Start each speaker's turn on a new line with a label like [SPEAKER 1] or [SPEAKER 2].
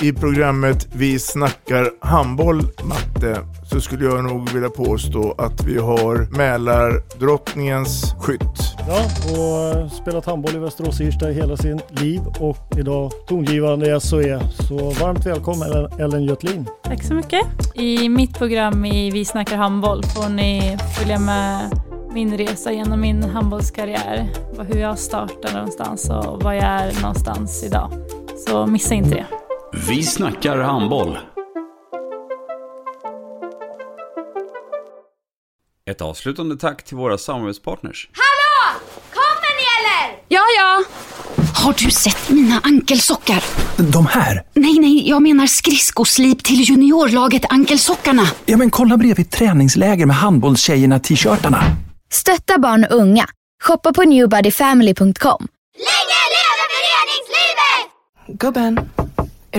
[SPEAKER 1] i programmet Vi snackar handboll, matte, så skulle jag nog vilja påstå att vi har Mälardrottningens skytt.
[SPEAKER 2] Ja, och eh, spelat handboll i Västerås och Irsta i hela sin liv och idag tongivande i SOE. Så varmt välkommen Ellen- Ellen Götlin.
[SPEAKER 3] Tack så mycket. I mitt program i Vi snackar handboll får ni följa med min resa genom min handbollskarriär. Vad- Hur jag startade någonstans och var jag är någonstans idag. Så missa inte det.
[SPEAKER 4] Vi snackar handboll. Ett avslutande tack till våra samarbetspartners.
[SPEAKER 5] Hallå! Kommer ni eller?
[SPEAKER 6] Ja, ja. Har du sett mina ankelsockar?
[SPEAKER 7] De här?
[SPEAKER 6] Nej, nej, jag menar skridskoslip till juniorlaget Ankelsockarna.
[SPEAKER 7] Ja, men kolla bredvid träningsläger med handbollstjejerna-t-shirtarna.
[SPEAKER 8] Stötta barn och unga. Shoppa på newbodyfamily.com.
[SPEAKER 5] Länge leve föreningslivet!
[SPEAKER 9] Gubben, är